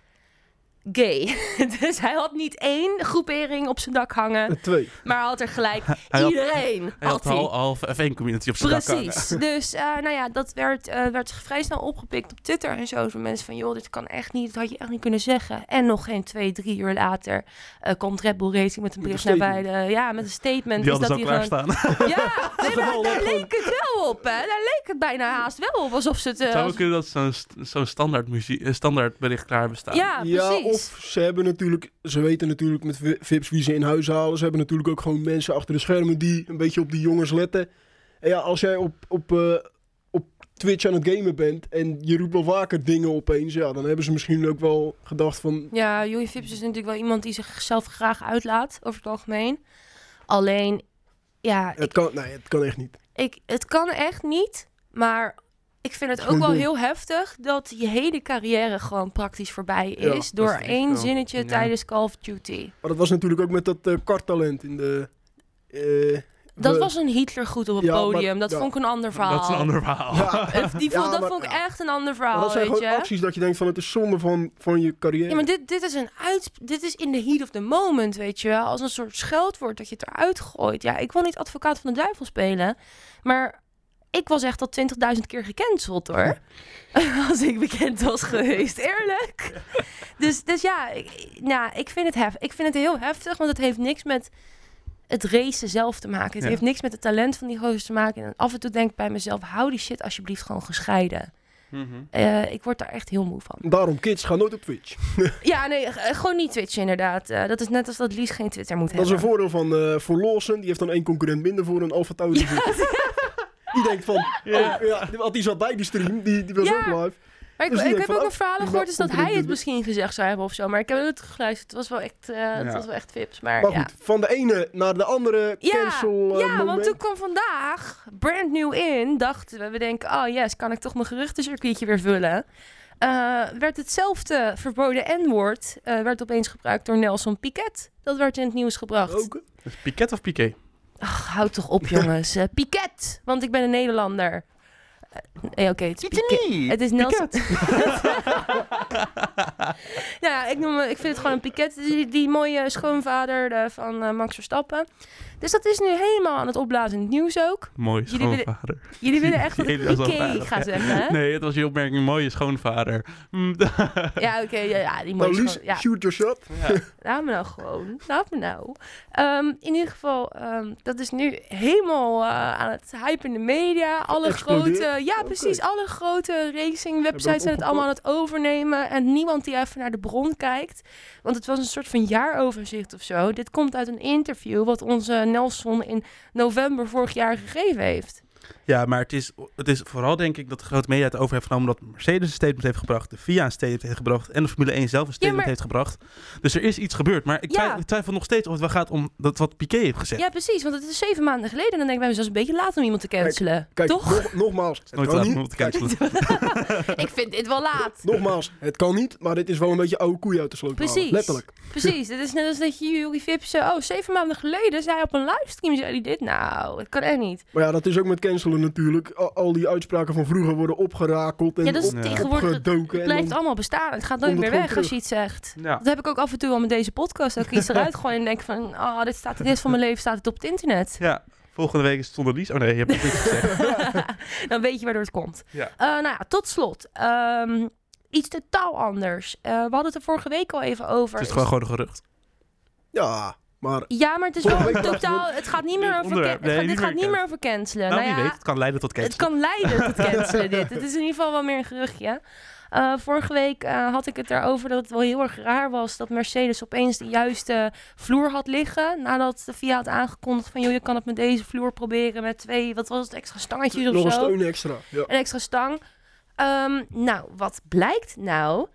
gay. dus hij had niet één groepering op zijn dak hangen, En Eh, twee. maar hij had er gelijk Hij had- iedereen. Hij had hij. al, al F1 community op zijn dak hangen. Precies. Dus eh, nou ja, dat werd, eh, werd vrij snel opgepikt op Twitter en zo. Van mensen van, joh, dit kan echt niet. Dat had je echt niet kunnen zeggen. En nog geen twee, drie uur later eh, komt Red Bull Racing met een Met een bericht naar beide. Ja, met een statement. Die is hadden ze dat al die klaarstaan. gewoon- Ja, nee, maar Gewoon, daar gewoon. leek het wel op, hè. Daar leek het bijna haast wel op. Alsof ze het... eh, Zou als- ook kunnen dat ze zo'n st- zo'n standaard, muzie- eh, standaard bericht klaar bestaan? Ja, Ja, precies. of ze hebben natuurlijk, ze weten natuurlijk met vi- vips wie ze in huis halen. Ze hebben natuurlijk ook gewoon mensen achter de schermen die een beetje op die jongens letten. En ja, als jij op, op, eh, op Twitch aan het gamen bent en je roept wel vaker dingen opeens, ja, dan hebben ze misschien ook wel gedacht van, Ja, Joey Vips is natuurlijk wel iemand die zichzelf graag uitlaat, over het algemeen. Alleen, ja, het kan, nee, het kan echt niet. Ik, het kan echt niet, maar ik vind het ook Gewoon wel doen. heel heftig dat je hele carrière gewoon praktisch voorbij Ja, is door dat is echt één wel- zinnetje ja. tijdens Call of Duty. Maar dat was natuurlijk ook met dat eh, karttalent in de... eh, Dat we- was een Hitler goed op het Ja, maar- podium. dat ja. vond ik een ander verhaal. Dat is een ander verhaal. Ja, Eh, Die vond, Ja, dat maar- vond ik echt een ander maar verhaal, dat zijn weet gewoon je. acties dat je denkt van, het is zonde van, van je carrière. Ja, maar dit, dit is een uit, dit is in the heat of the moment, weet je wel. Als een soort scheldwoord dat je het eruit gooit. Ja, ik wil niet advocaat van de duivel spelen, maar ik was echt al 20.000 keer gecanceld hoor. Als ik bekend was geweest, eerlijk. Dus, dus ja, ik, nou, ik, vind het hef, ik vind het heel heftig, want het heeft niks met het racen zelf te maken. Het Ja. heeft niks met het talent van die gozer te maken. En af en toe denk ik bij mezelf, hou die shit alsjeblieft gewoon gescheiden. Mhm. Eh, ik word daar echt heel moe van. Daarom, kids, ga nooit op Twitch. Ja, nee, eh, gewoon niet Twitch inderdaad. Eh, dat is net als dat Lies geen Twitter moet Dat is een voordeel hebben. van eh, voor Lawson. Die heeft dan één concurrent minder voor een Alpha Tauri. Die denkt van, Ja. oh, ja, want die zat bij die stream, die, die was Ja. ook live. Maar ik, dus die ik denkt heb van, ook oh, een verhaal die gehoord is dat komt er hij in het de- misschien gezegd zou hebben of zo. Maar ik heb het geluisterd. Het was wel echt, eh, het Ja. was wel echt vips. Maar, Maar ja. goed, van de ene naar de andere Ja, cancel eh, ja, want moment. toen kwam vandaag brand new in. Dachten we, we denken, oh yes, kan ik toch mijn geruchtencircuitje weer vullen? Eh, werd hetzelfde verboden N-woord eh, werd opeens gebruikt door Nelson Piquet. Dat werd in het nieuws gebracht. Ook. eh, Piquet of Piquet? Ach, houd toch op, jongens. Eh, Piquet, want ik ben een Nederlander. Eh, nee, Oké, het is Piquet. Het is Nelson. nou ja, ik, noem, ik vind het gewoon een Piquet. Die, die mooie schoonvader eh, van eh, Max Verstappen. Dus dat is nu helemaal aan het opblazen in het nieuws ook. Mooi Jullie willen- schoonvader. Jullie willen echt dat ik Jullie als al Piquet vader. ga zeggen, hè? Nee, het was je opmerking. Mooie schoonvader. Mm, d- Ja, oké. ja, ja, die mooie Nou, Lies, schoon- ja. shoot your shot. Laat me nou gewoon. Laat me nou. Ehm, in ieder geval, ehm, dat is nu helemaal eh, aan het hype in de media. Alle Explodeert. grote, ja Oké. precies, alle grote racing Hebben websites het zijn het allemaal aan het overnemen. En niemand die even naar de bron kijkt. Want het was een soort van jaaroverzicht of zo. Dit komt uit een interview wat onze Nelson in november vorig jaar gegeven heeft. Ja, maar het is, het is vooral denk ik dat de grote media het over heeft genomen dat Mercedes een statement heeft gebracht, de FIA een statement heeft gebracht en de Formule 1 zelf een statement maar- heeft gebracht. Dus er is iets gebeurd, maar ik Ja. twijfel, ik twijfel nog steeds of het wel gaat om dat wat Piqué heeft gezegd. Ja, precies, want het is zeven maanden geleden. En dan denk ik bij mezelf, het is een beetje laat om iemand te cancelen. Kijk, Toch? nog- nogmaals, het Nooit kan laat niet. om op te kijken. ik vind dit wel laat. Nogmaals, het kan niet, maar dit is wel een beetje oude koeien uit de sloot halen. Precies. Letterlijk. Precies, het is net als dat je Jury Vip zei... Oh, zeven maanden geleden zei hij op een livestream zei hij dit. Nou, dat kan echt niet. Maar ja, dat is ook met cancelen natuurlijk. Al, al die uitspraken van vroeger worden opgerakeld en Ja, dat is op- Ja. tegenwoordig... Het opgedoken. en blijft dan- allemaal bestaan. Het gaat nooit komt meer het weg gewoon als je iets zegt. Ja. Dat heb ik ook af en toe al met deze podcast. Dat ik iets eruit gooi en denk van... Oh, dit staat de rest van mijn leven staat het op het internet. ja, volgende week is het zonder Lies. Oh nee, je hebt het niet gezegd. Dan weet je waardoor het komt. Ja. Eh, nou ja, tot slot. Ehm, iets totaal anders. Eh, we hadden het er vorige week al even over. Het is gewoon, gewoon een gerucht. Ja, maar Ja, maar het is Vorige wel week was totaal... Het gaat niet meer Dit over, onderwerp. can- het gaat, Nee, dit niet gaat meer niet meer over cancelen. nou, ja, wie weet, het kan leiden tot Het cancel. kan leiden tot cancelen dit. Het is in ieder geval wel meer een geruchtje. Eh, vorige week eh, had ik het erover dat het wel heel erg raar was dat Mercedes opeens de juiste vloer had liggen. Nadat de FIA had aangekondigd van joh, je kan het met deze vloer proberen met twee, wat was het, extra stangetjes of nog een zo. steun extra. Ja. Een extra stang. Ehm, nou, wat blijkt nou?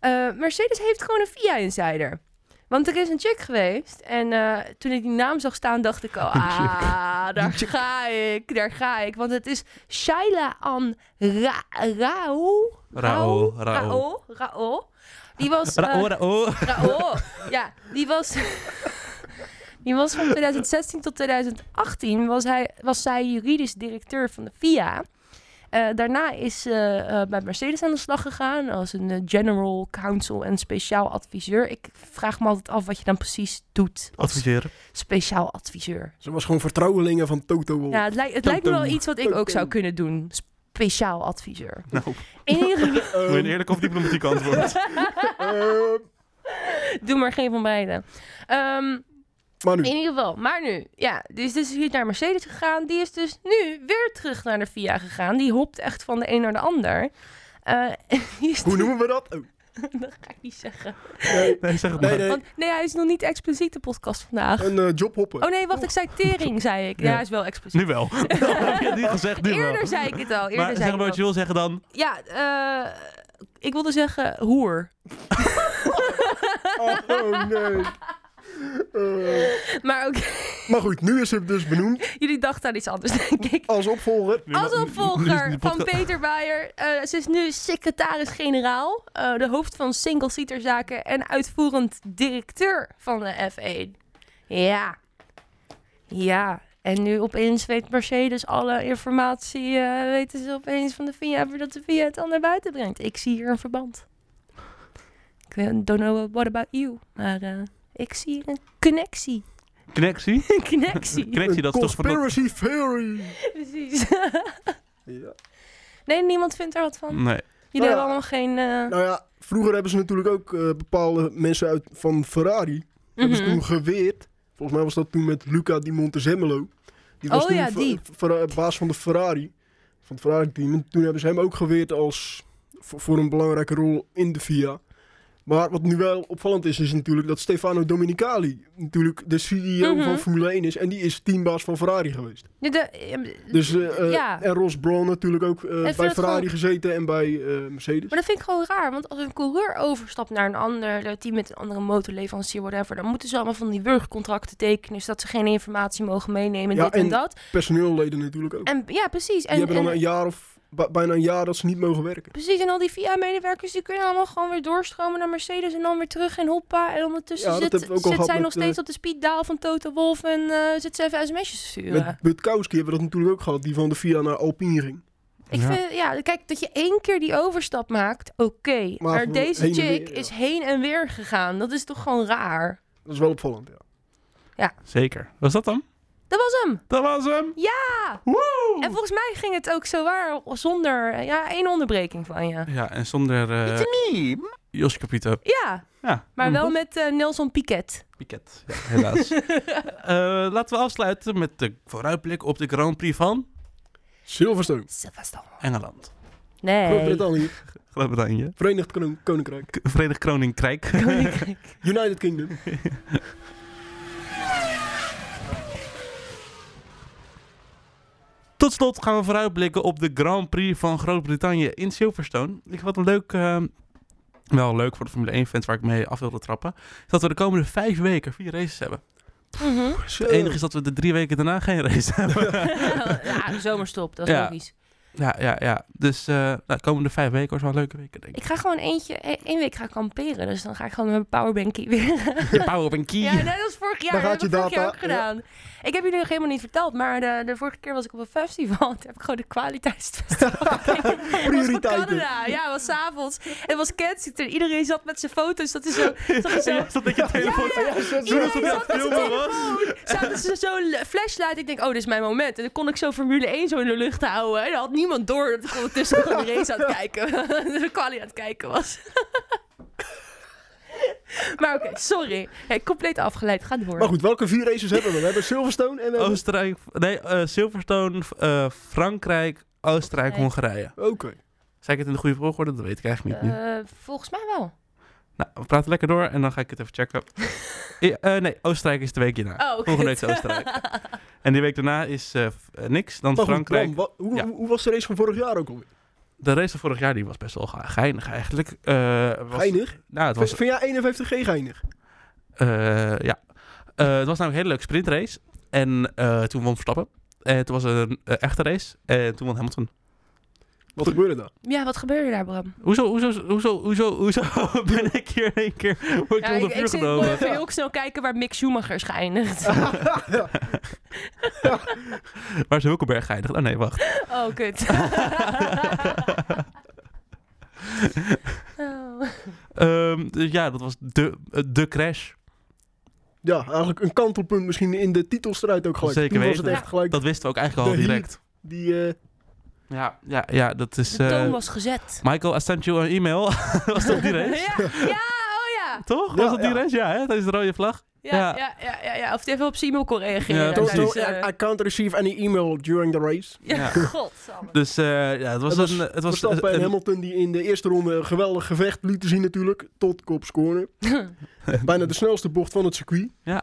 Eh, Mercedes heeft gewoon een FIA-insider. Want er is een check geweest. En eh, toen ik die naam zag staan, dacht ik al... Ah, daar ga ik, daar ga ik. Want het is Shaila An Ra Rao. Rao, Rao. Rao. Rao. Die was... eh, Rao, Rao. Raoul. oh, Ja, die was. Die was van 2016 tot 2018 was, hij, was zij juridisch directeur van de FIA. Eh, daarna is ze eh, bij Mercedes aan de slag gegaan als een eh, general counsel en speciaal adviseur. Ik vraag me altijd af wat je dan precies doet als Adviseren. speciaal adviseur. Ze was gewoon vertrouwelingen van Toto Wolff. Ja, het, lijkt, het lijkt me wel Totem. iets wat ik ook zou Totem. kunnen doen. Speciaal adviseur. Nou, moet In ieder geval, je een eerlijk of diplomatiek antwoord? Ehm, doe maar geen van beiden. Ehm, maar nu, In ieder geval, maar nu. Ja, dus dus is hier naar Mercedes gegaan. Die is dus nu weer terug naar de VIA gegaan. Die hopt echt van de een naar de ander. Eh, die is hoe noemen we dat? eh, Oh, Dat ga ik niet zeggen. nee, Nee, zeg het maar. nee, nee. Want nee, hij is nog niet expliciet de podcast vandaag. Een eh, jobhopper. Oh nee, wacht, ik zei tering, zei ik. Ja, Ja. hij is wel expliciet. Nu wel. heb je het niet gezegd, nu Eerder wel. zei ik het al. Eerder maar zei zeg ik maar het wat je wil zeggen dan. al. Ja, eh, ik wilde zeggen hoer. Oh, nee. Eh, Maar ook, maar goed, nu is het dus benoemd jullie dachten aan iets anders, denk ik. als opvolger. Nu- Als nu- nu is opvolger de podcast- van Peter Baier. Eh, ze is nu secretaris-generaal, eh, de hoofd van single-seaterzaken en uitvoerend directeur van de F1. Ja. Ja. En nu opeens weet Mercedes alle informatie, eh, weten ze opeens van de VIA, voordat de VIA het al naar buiten brengt. Ik zie hier een verband. Ik weet- don't know what about you, maar eh, ik zie hier een connectie. Connectie? Een connectie. Connectie, Een dat is toch van... dat- Conspiracy theory. Precies. Ja. Nee, niemand vindt er wat Nee. van. Jullie Nou ja. hebben allemaal geen. eh, Nou ja, vroeger hebben ze natuurlijk ook eh, bepaalde mensen uit, van Ferrari. Hebben ze mhm. toen geweerd. Volgens mij was dat toen met Luca di Montezemolo. Die was Oh toen ja, Fe- die. Ferra- baas van de Ferrari. Van het Ferrari-team. En toen hebben ze hem ook geweerd als, voor, voor een belangrijke rol in de FIA. Maar wat nu wel opvallend is, is natuurlijk dat Stefano Dominicali natuurlijk de CEO Mhm. van Formule 1 is. En die is teambaas van Ferrari geweest. Ja, de- eh, Dus, eh, eh, Ja. En Ross Brawn natuurlijk ook eh, vind bij het Ferrari gewoon- gezeten en bij eh, Mercedes. maar dat vind ik gewoon raar, want als een coureur overstapt naar een ander team met een andere motorleverancier, whatever, dan moeten ze allemaal van die wurgcontracten tekenen, zodat ze geen informatie mogen meenemen, Ja, dit en, en- dat. Personeelleden natuurlijk ook. En ja, precies. die En, hebben dan en- een jaar of ba- bijna een jaar dat ze niet mogen werken. precies, en al die VIA-medewerkers, die kunnen allemaal gewoon weer doorstromen naar Mercedes en dan weer terug en hoppa. En ondertussen Ja, dat zit, hebben we ook al zit gehad zij met, eh, nog steeds op de speeddaal van Toto Wolf en eh, zit ze even sms'jes te sturen. Met Butkowski hebben we dat natuurlijk ook gehad, die van de Via naar Alpine ging. Ik Ja. vind, ja, kijk, dat je één keer die overstap maakt, oké. Maar, van deze heen en chick weer, ja. is heen en weer gegaan. Dat is toch gewoon raar? Dat is wel opvallend, ja. Zeker. Was dat dan? Dat was hem. Dat was hem! Ja! En volgens mij ging het ook zo waar zonder eh, ja, één onderbreking van je. Ja, en zonder eh Josje Capito. Ja, Ja, maar Mhm. een wel met eh, Nelson Piquet. Piket, ja, helaas. Eh, laten we afsluiten met de vooruitblik op de Grand Prix van Silverstone. Silverstone. Engeland. Nee. Groot-Brittannië. Groot-Brittannië. Verenigd Koning- Koninkrijk. K- Verenigd Koninkrijk. United Kingdom. Tot slot gaan we vooruitblikken op de Grand Prix van Groot-Brittannië in Silverstone. Ik vond het leuk, eh, wel leuk voor de Formule 1-fans waar ik mee af wilde trappen, is dat we de komende vijf weken vier races hebben. Mhm. Het Eh. enige is dat we de drie weken daarna geen race hebben. ja, zomerstop, dat is Ja. logisch. ja, ja, ja. Dus eh, nou, de komende vijf weken was wel een leuke weken, denk ik. Ik ga gewoon eentje, e- één week gaan kamperen. Dus dan ga ik gewoon met mijn powerbankie weer. Je power op een key. ja, net als vorig jaar. Daar Dat gaat heb je ik vorig jaar ook data, ja. gedaan. Ik heb jullie nog helemaal niet verteld, maar de, de vorige keer was ik op een festival. Toen heb ik gewoon de kwaliteitsfestival gekeken. Dat was Prioriteiten. voor Canada. Ja, het was 's avonds. Het was Kensington. Iedereen zat met zijn foto's. Dat is zo... Dat is zo Ja, dat ik je telefoon... Ja, ja, zo- zo- Iedereen zo- zat ja. aan het filmen was. Zaten ze zo'n le- flashlight. Ik denk, oh, dit is mijn moment. En dan kon ik zo Formule 1 zo in de lucht houden. En dan had niemand door dat ik ondertussen gewoon de race aan het kijken De quali aan het kijken was. maar oké, sorry. Hey, compleet afgeleid. Ga door. Maar goed, welke vier races hebben we? We hebben Silverstone en we hebben... Oostenrijk... Nee, eh, Silverstone, eh, Frankrijk, Oostenrijk, Hongarije. Oké. Zei ik het in de goede volgorde? Dat weet ik eigenlijk niet nu. Eh, volgens mij wel. Nou, we praten lekker door en dan ga ik het even checken. Ja, eh, nee, Oostenrijk is de week hierna. Oh, kut. Volgende week is Oostenrijk. en die week daarna is eh, f- eh, niks. Dan Maar goed, Frankrijk. Bram, wat- hoe, Ja. hoe, hoe was de race van vorig jaar ook alweer? De race van vorig jaar die was best wel ge- geinig eigenlijk. Eh, was, Geinig? Nou, het was... Vind jij 51 geen geinig? eh, ja. Eh, het was namelijk een hele leuke sprintrace. En eh, toen won Verstappen. En toen was er een eh, echte race. En toen won Hamilton. Wat gebeurde daar? Ja, wat gebeurde daar, Bram? Hoezo, hoezo, hoezo, hoezo, hoezo ben ik hier in één keer word ik onder ik, vuur ik zit genomen? gewoon even heel snel kijken waar Mick Schumacher is geëindigd. Waar is Hulkenberg geëindigd? Oh nee, wacht. Oh, kut. Oh. Ehm, dus ja, dat was de, eh, de crash. Ja, eigenlijk een kantelpunt misschien in de titelstrijd ook gelijk. Zeker Toen was weten. het echt gelijk Dat wisten we ook eigenlijk al De direct. die... eh, Ja, ja, ja, dat is... De eh, toon was gezet. Michael, I sent you an email. was dat die race? Ja, ja, oh ja. Toch? Ja, was dat die ja. race? Ja, hè? Dat is de rode vlag. Ja, Ja. ja. Ja, ja, ja, Of hij even op Simon kon reageren. Ja, Ja, dat don't- is- eh, don't- I, I can't receive any email during the race. Ja. ja. godsamme. Dus eh, ja, het was, Het was een... Het was Verstappen en een- Hamilton die in de eerste ronde een geweldig gevecht lieten zien natuurlijk. Tot kopscoren. Bijna de snelste bocht van het circuit. Ja.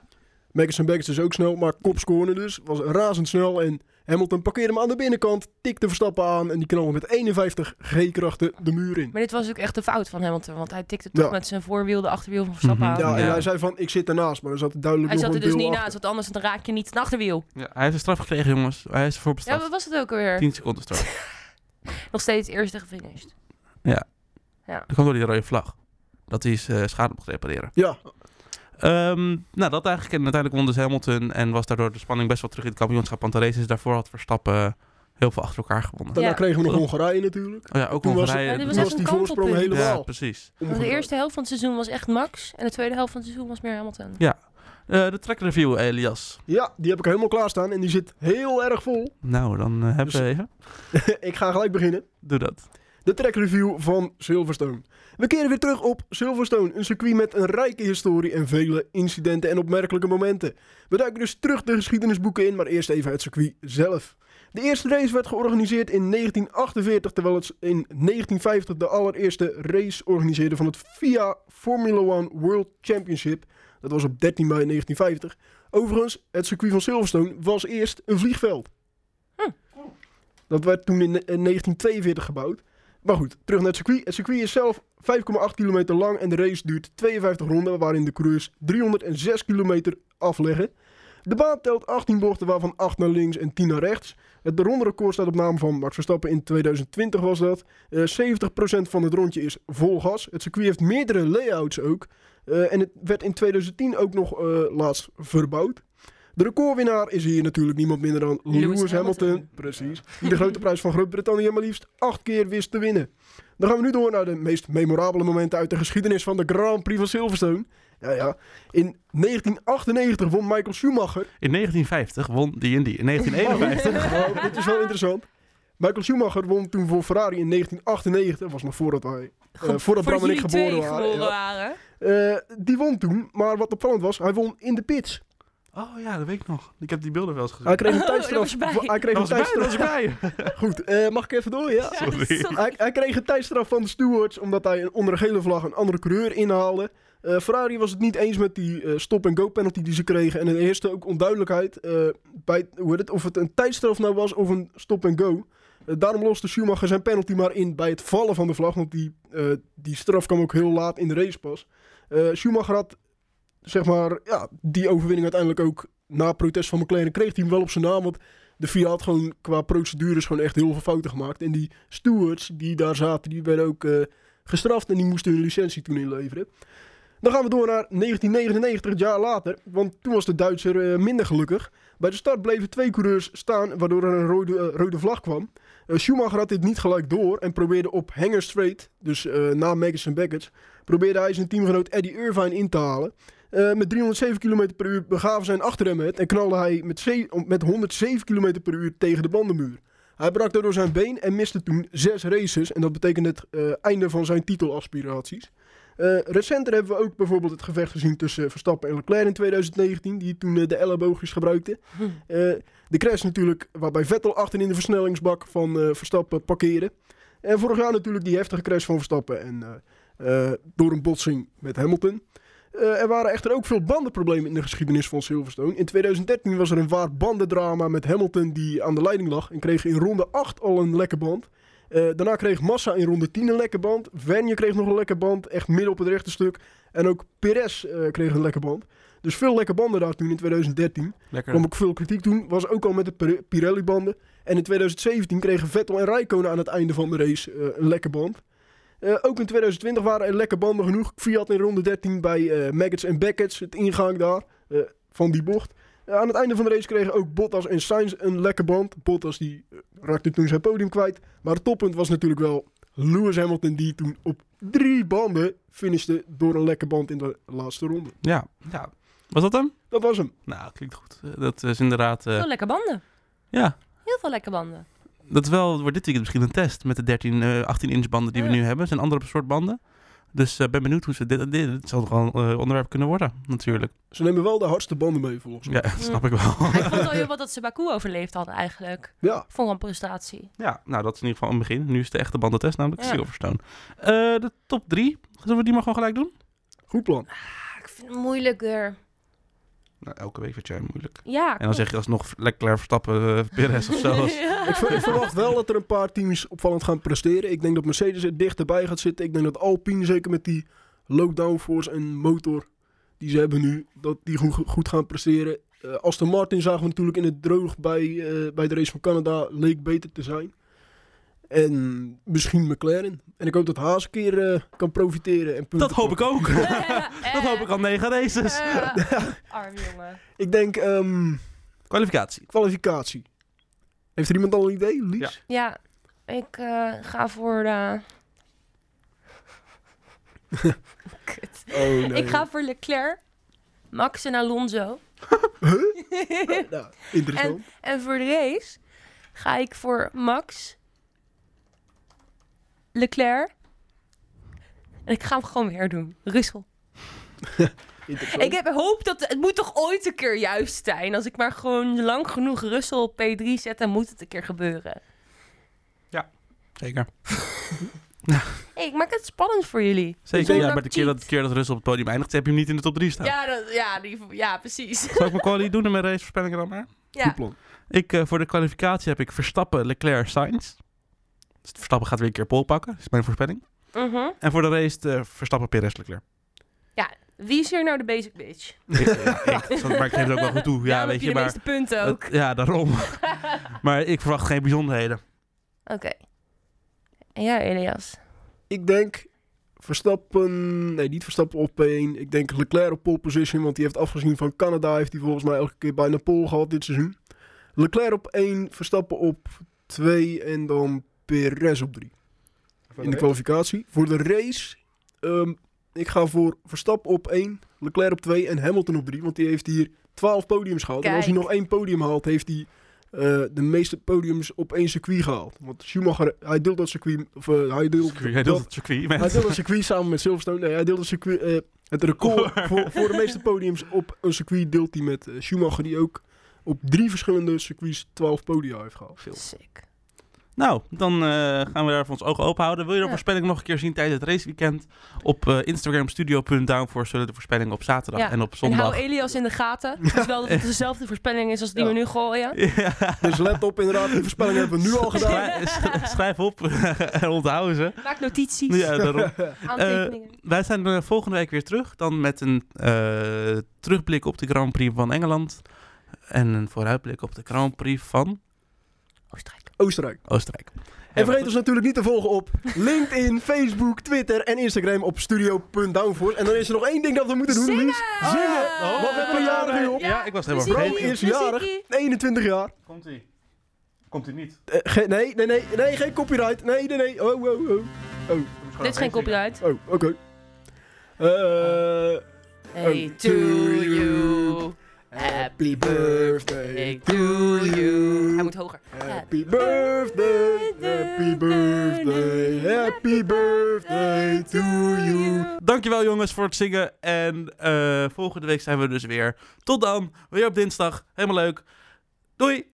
Magnussen Baggs is dus ook snel, maar kopscoren dus. Was razendsnel en Hamilton parkeerde hem aan de binnenkant. Tikte Verstappen aan en die knalde met 51 G-krachten de muur in. Maar dit was ook echt een fout van Hamilton. Want hij tikte toch Ja. met zijn voorwiel de achterwiel van Verstappen Mhm. aan. Ja, en Ja. hij zei van, ik zit ernaast, maar er zat duidelijk Hij nog zat er een dus deel niet achter. naast, want anders dan raak je niet zijn achterwiel. ja, hij heeft een straf gekregen, jongens. Hij is ervoor Ja, bestraft. wat was het ook alweer? 10 seconden straf. Nog steeds eerste gefinished. Dat kwam door die rode vlag. Dat hij eh, schade mocht repareren. Ja, Ehm, nou, dat eigenlijk. En uiteindelijk won dus Hamilton. En was daardoor de spanning best wel terug in het kampioenschap. Want de races daarvoor had Verstappen eh, heel veel achter elkaar gewonnen. daarna Ja. kregen we nog Hongarije natuurlijk. Oh ja, ook Toen was- Hongarije. Ja, dit Toen was was echt die een voorsprong kantelpunt. helemaal. Ja, precies. Want de eerste helft van het seizoen was echt Max. En de tweede helft van het seizoen was meer Hamilton. Eh, de track review, Elias. Ja, die heb ik helemaal klaarstaan en die zit heel erg vol. Nou, dan eh, hebben Dus- we even. ik ga gelijk beginnen. Doe dat. De track review van Silverstone. We keren weer terug op Silverstone, een circuit met een rijke historie en vele incidenten en opmerkelijke momenten. We duiken dus terug de geschiedenisboeken in, maar eerst even het circuit zelf. De eerste race werd georganiseerd in 1948, terwijl het in 1950 de allereerste race organiseerde van het FIA Formula One World Championship. Dat was op 13 mei 1950. Overigens, het circuit van Silverstone was eerst een vliegveld. Hm. Dat werd toen in eh, 1942 gebouwd. Maar goed, terug naar het circuit. Het circuit is zelf 5,8 kilometer lang en de race duurt 52 ronden, waarin de coureurs 306 kilometer afleggen. De baan telt 18 bochten, waarvan 8 naar links en 10 naar rechts. Het ronderecord staat op naam van Max Verstappen in 2020 was dat. Eh 70% van het rondje is vol gas. Het circuit heeft meerdere layouts ook. Eh, en het werd in 2010 ook nog eh, laatst verbouwd. De recordwinnaar is hier natuurlijk niemand minder dan Lewis, Lewis Hamilton. Hamilton. Precies. Die de grote prijs van Groot-Brittannië maar liefst acht keer wist te winnen. Dan gaan we nu door naar de meest memorabele momenten uit de geschiedenis van de Grand Prix van Silverstone. Ja, ja. In 1998 won Michael Schumacher In 1950 won die en die. In 1951. Oh, dit is wel interessant. Michael Schumacher won toen voor Ferrari in 1998. Dat was nog voordat wij... eh, voordat Bram en ik jullie geboren twee waren. geboren ja. waren. Eh, die won toen, maar wat opvallend was, hij won in de pits. Oh ja, dat weet ik nog. Ik heb die beelden wel eens gezien. Hij kreeg een Oh, daar was tijdstraf. je bij. hij kreeg Dat een was bij, dat was tijdstraf. bij. Goed, eh, mag ik even door? Ja. Ja, dat is Sorry. toch- Hij, hij kreeg een tijdstraf van de stewards omdat hij een- onder een gele vlag een andere coureur inhaalde. Eh, Ferrari was het niet eens met die eh, stop-and-go penalty die ze kregen. En er heerste ook onduidelijkheid eh, bij hoe heet het, of het een tijdstraf nou was of een stop-and-go. Eh, daarom loste Schumacher zijn penalty maar in bij het vallen van de vlag. Want die, eh, die straf kwam ook heel laat in de race pas. Eh, Schumacher had zeg maar, ja, die overwinning uiteindelijk ook na protest van McLaren kreeg hij hem wel op zijn naam. Want de FIA had gewoon qua procedures gewoon echt heel veel fouten gemaakt. En die stewards die daar zaten, die werden ook eh, gestraft en die moesten hun licentie toen inleveren. Dan gaan we door naar 1999, het jaar later. Want toen was de Duitser eh, minder gelukkig. Bij de start bleven twee coureurs staan, waardoor er een rode, eh, rode vlag kwam. Eh, Schumacher had dit niet gelijk door en probeerde op Hanger Straight, dus eh, na Magnussen Beckett, probeerde hij zijn teamgenoot Eddie Irvine in te halen. Eh, met 307 km per uur begaven zijn achterremmen het en knalde hij met, ze- met 107 km per uur tegen de bandenmuur. Hij brak daardoor zijn been en miste toen zes races en dat betekende het eh, einde van zijn titelaspiraties. Eh, recenter hebben we ook bijvoorbeeld het gevecht gezien tussen Verstappen en Leclerc in 2019, die toen eh, de elleboogjes gebruikte. Eh, de crash natuurlijk, waarbij Vettel achterin de versnellingsbak van eh, Verstappen parkeerde. En vorig jaar natuurlijk die heftige crash van Verstappen en, eh, eh, door een botsing met Hamilton. Eh, er waren echter ook veel bandenproblemen in de geschiedenis van Silverstone. In 2013 was er een waar bandendrama met Hamilton die aan de leiding lag en kreeg in ronde 8 al een lekke band. Eh, daarna kreeg Massa in ronde 10 een lekke band. Vernje kreeg nog een lekke band, echt midden op het rechte stuk. En ook Perez eh, kreeg een lekke band. Dus veel lekke banden daar toen in 2013. Lekker. Kwam ook veel kritiek toen, was ook al met de Pir- Pirelli-banden. En in 2017 kregen Vettel en Rijkonen aan het einde van de race eh, een lekke band. Eh, ook in 2020 waren er lekke banden genoeg. Fiat in ronde 13 bij eh Maggots en Beckets, het ingang daar eh, van die bocht. Eh, aan het einde van de race kregen ook Bottas en Sainz een lekke band. Bottas die eh, raakte toen zijn podium kwijt. Maar het toppunt was natuurlijk wel Lewis Hamilton die toen op drie banden finishte door een lekke band in de laatste ronde. Ja. ja. Was dat hem? Dat was hem. Nou, klinkt goed. Eh, Dat is inderdaad... eh, Veel lekker banden. ja, Heel veel lekker banden. dat is wel, wordt dit weekend misschien een test met de 13, eh 18-inch banden die we Ja. nu hebben. Het zijn andere soort banden. Dus ik ben benieuwd hoe ze dit... dit, dit zal toch wel een eh, onderwerp kunnen worden, natuurlijk. Ze nemen wel de hardste banden mee volgens mij. Ja, dat snap ik wel. Ik vond al heel wat dat ze Baku overleefd hadden eigenlijk. Ja. Vond ik een prestatie. Ja, nou dat is in ieder geval een begin. Nu is de echte bandentest namelijk Ja. Silverstone. Eh, de top drie, zullen we die maar gewoon gelijk doen? goed plan. Ah, ik vind het moeilijker. Nou, elke week vind jij moeilijk. Ja. En dan zeg je alsnog Leclerc Verstappen, eh Perez of zo. Als- Ik, ver- ik verwacht wel dat er een paar teams opvallend gaan presteren. Ik denk dat Mercedes er dichterbij gaat zitten. Ik denk dat Alpine, zeker met die low downforce en motor die ze hebben nu, dat die goed, goed gaan presteren. Eh Aston Martin zagen we natuurlijk in het droog bij, eh, bij de race van Canada, leek beter te zijn. En misschien McLaren. En ik hoop dat Haas een keer eh, kan profiteren. En punten Dat hoop ik pakt. ook. eh. dat hoop ik al negen races. arm jongen. Ik denk ehm, Kwalificatie. kwalificatie. Heeft er iemand al een idee, Lies? Ja. Ja, ik eh, ga voor... eh, Kut. Oh, nee. Ik ga voor Leclerc, Max en Alonso. Nou, interessant. En voor de race ga ik voor Max, Leclerc. En ik ga hem gewoon weer doen. Russel. interessant. Ik heb hoop dat het moet toch ooit een keer juist zijn. Als ik maar gewoon lang genoeg Russel op P3 zet, dan moet het een keer gebeuren. Zeker. Hey, ik maak het spannend voor jullie. Zeker. Zonder Ja, maar de keer dat, de cheat. keer dat Russell op het podium eindigt, heb je hem niet in de top drie staan. Ja, dat, ja, die, ja, precies. Zal ik mijn quali doen en mijn racevoorspellingen dan maar? Ja. Goed plan. Ik, eh, voor de kwalificatie heb ik Verstappen, Leclerc, Sainz. Dus Verstappen gaat weer een keer pol pakken, is mijn voorspelling. Mhm. En voor de race eh, Verstappen, Perez, Leclerc. Wie is hier nou de basic bitch? Ik- ja, ik, zo- maar ik geef het ook wel goed toe. Ja, Daarom weet heb je, de maar... meeste punten ook. Het- ja, daarom. maar ik verwacht geen bijzonderheden. Oké. En jij, Elias? Ik denk Verstappen, nee niet Verstappen op P1. Ik denk Leclerc op pole position, want die heeft afgezien van Canada. Heeft hij volgens mij elke keer bijna pole gehad dit seizoen. Leclerc op 1, Verstappen op 2 en dan Perez op 3. In de kwalificatie. Voor de race, ehm, ik ga voor Verstappen op 1, Leclerc op 2 en Hamilton op 3. Want die heeft hier 12 podiums gehaald. En als hij Kijk. nog één podium haalt, heeft hij eh, de meeste podiums op één circuit gehaald. Want Schumacher, hij deelt dat circuit, of eh, hij deelt, Jij deelt het circuit met... hij deelt dat circuit samen met Silverstone. Nee, hij deelt het circuit, eh, het record voor, voor de meeste podiums op een circuit deelt hij met eh, Schumacher, die ook op drie verschillende circuits 12 podia heeft gehaald. Sick. Nou, dan eh, gaan we daar voor ons ogen open houden. Wil je de Ja. voorspelling nog een keer zien tijdens het raceweekend? Op eh, Instagram studio.downforce zullen de voorspellingen op zaterdag Ja, en op En hou zondag. Elias in de gaten. Het is wel dat het dezelfde voorspelling is als die Ja. we nu gooien. Ja. Dus let op inderdaad, die voorspelling hebben we nu al gedaan. Schrij- sch- schrijf op en onthouden ze. Maak notities, Ja, daarom. aantekeningen. Wij zijn eh, volgende week weer terug. Dan met een eh, terugblik op de Grand Prix van Engeland. En een vooruitblik op de Grand Prix van Oostenrijk. Oostenrijk. Oostenrijk. En vergeet dus- ons natuurlijk niet te volgen op LinkedIn, Facebook, Twitter en Instagram op studio.downforce. En dan is er nog één ding dat we moeten doen, Zingen! Lies. Zingen! Oh. Want we hebben een jarig nu op. Ja, ik was helemaal Muziekie, vergeten. Bram is muziekie. jarig. 21 jaar. Komt ie? Komt ie niet? Eh, ge- nee, nee, nee, nee, geen copyright. Nee, nee, nee. Oh, oh, oh. Dit is geen copyright. Oh, oké. Eh, Hey, to you. happy birthday Hey, to you. Hij moet hoger. Happy birthday, happy birthday, happy birthday to you. Dankjewel jongens voor het zingen. En eh, volgende week zijn we dus weer. Tot dan. Weer op dinsdag. Helemaal leuk. Doei.